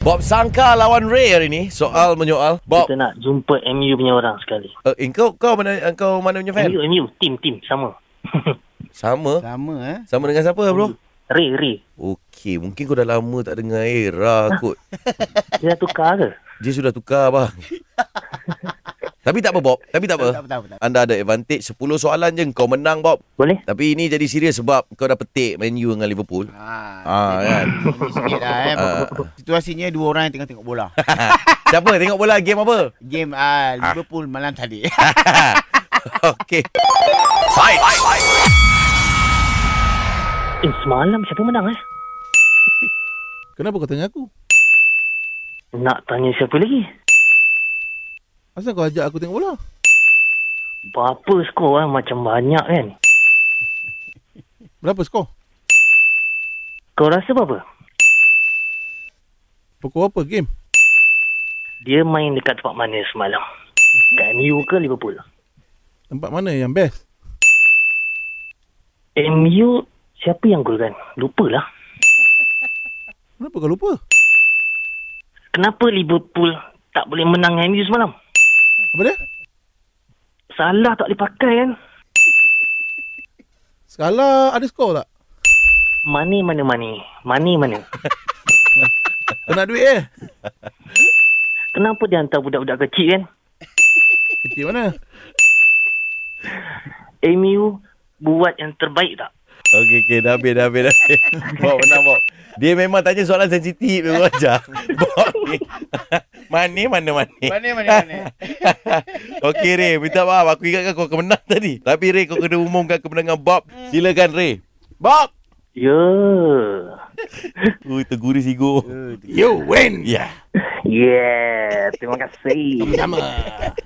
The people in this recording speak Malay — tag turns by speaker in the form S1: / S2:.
S1: Bob Sangka lawan Ray hari ni soal menyoal Bob
S2: Kita nak jumpa MU punya orang sekali.
S1: uh, eh, kau kau mana kau mana punya fan
S2: MU, MU, team, team, sama.
S1: sama
S3: Sama eh.
S1: sama dengan siapa bro
S2: Ray, Ray.
S1: Okey mungkin kau dah lama tak dengar Era kot
S2: Dia dah tukar ke?
S1: dia sudah tukar bang Tapi tak apa Bob tapi tak
S3: Tak
S1: apa
S3: apa, tak apa, tak apa.
S1: anda ada advantage 10 soalan je kau menang Bob
S2: Boleh?
S1: tapi ini jadi serius sebab kau dah petik Man U dengan Liverpool
S3: Ah,
S1: Ah kan
S3: sikit lah eh.
S1: Ah.
S3: Situasinya dua orang yang tengah tengok bola.
S1: Siapa tengok bola game apa
S3: Game ah, Liverpool malam tadi.
S1: Okey
S2: Eh, semalam siapa menang eh?
S4: Kenapa kau tanya aku?
S2: Nak tanya siapa lagi?
S4: Asal kau ajak aku tengok bola?
S2: Berapa skor eh? Macam banyak kan?
S4: Berapa skor?
S2: Kau rasa berapa?
S4: Pukul apa game?
S2: Dia main dekat tempat mana semalam? Kat MU ke Liverpool?
S4: Tempat mana yang best?
S2: MU, siapa yang gol kan? Lupalah.
S4: Kenapa kau lupa?
S2: Kenapa Liverpool tak boleh menang dengan MU semalam?
S4: Apa dia?
S2: Salah tak boleh pakai kan?
S4: Skala ada skor tak?
S2: Mane mana Mane? Mane mana?
S4: Kau nak duit eh?
S2: Kenapa dia hantar budak-budak kecil kan?
S4: Kecil mana?
S2: MU buat yang terbaik tak?
S1: Okey, okey. Dah habis, dah habis, dah habis. Bob, menang, Bob. Dia memang tanya soalan sensitif. Memang ajar. Bob ni. mana, mana, mana.
S3: Mana, mana, mana.
S1: Okey, Ray. Minta maaf. Aku ingatkan kau akan menang tadi. Tapi, Ray, kau kena umumkan kemenangan Bob. Silakan, Ray. Bob!
S2: Ya. Yeah.
S1: Ui, tergurih sigo.
S3: Eh,
S4: You win!
S1: Ya.
S2: Yeah, terima kasih.
S4: Sama.